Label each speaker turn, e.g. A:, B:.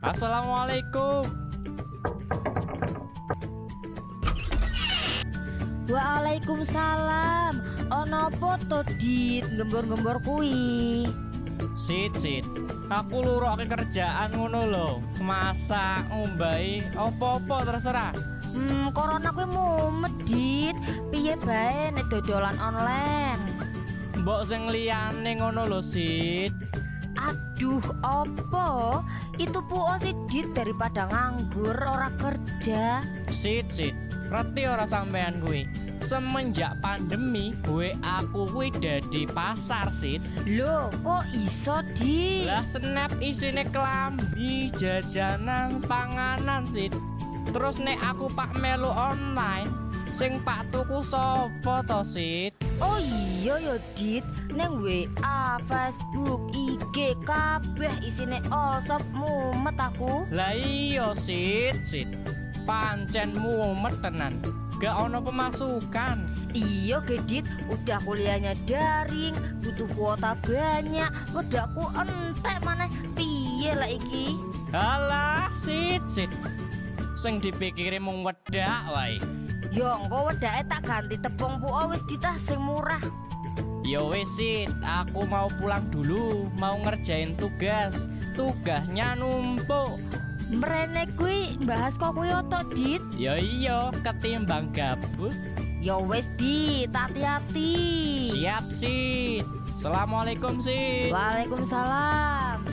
A: Assalamualaikum.
B: Waalaikumsalam. Ono apa to, Dit? Gembor-gembor kuwi.
A: Sit sit. Aku luroke kerjaan ngono lho. Masak, ngombahi, opo-opo terserah.
B: Hmm, corona kuwi mumet, Dit. Piye bae nek dodolan online?
A: Mbok sing liyane ngono lho, Sit.
B: Aduh, opo? Itu puo sih, Dit, daripada nganggur ora kerja.
A: Sit sit. Reti ora sampean kuwi. Semenjak pandemi, gue aku kuwi dadi pasar, Sit.
B: Loh, kok iso, Dit?
A: Lah snap isine klambi, jajanan, panganan sit. Terus nek aku pak melu online, sing pak tuku sapa to sit?
B: Oh iya ya Dit, neng WA, Facebook, IG kabeh isine all shop mumet aku.
A: Lah iya sit, sit. Pancen mumet tenan. Gak ono pemasukan.
B: Iya Gedit, udah kuliahnya daring, butuh kuota banyak, wedakku entek maneh. Piye lah iki?
A: Alah sit, sit. Sing dipikiri mung wedak wae.
B: Yo Ya engko wedake tak ganti tepung puo wis ditah sing murah.
A: Yo wis sit, aku mau pulang dulu, mau ngerjain tugas. Tugasnya numpuk.
B: Mrene kuwi bahas kok kuwi oto Dit.
A: Yo iya, ketimbang gabut.
B: Yo wis Dit, hati-hati.
A: Siap, Sid. Assalamualaikum, Sid.
B: Waalaikumsalam.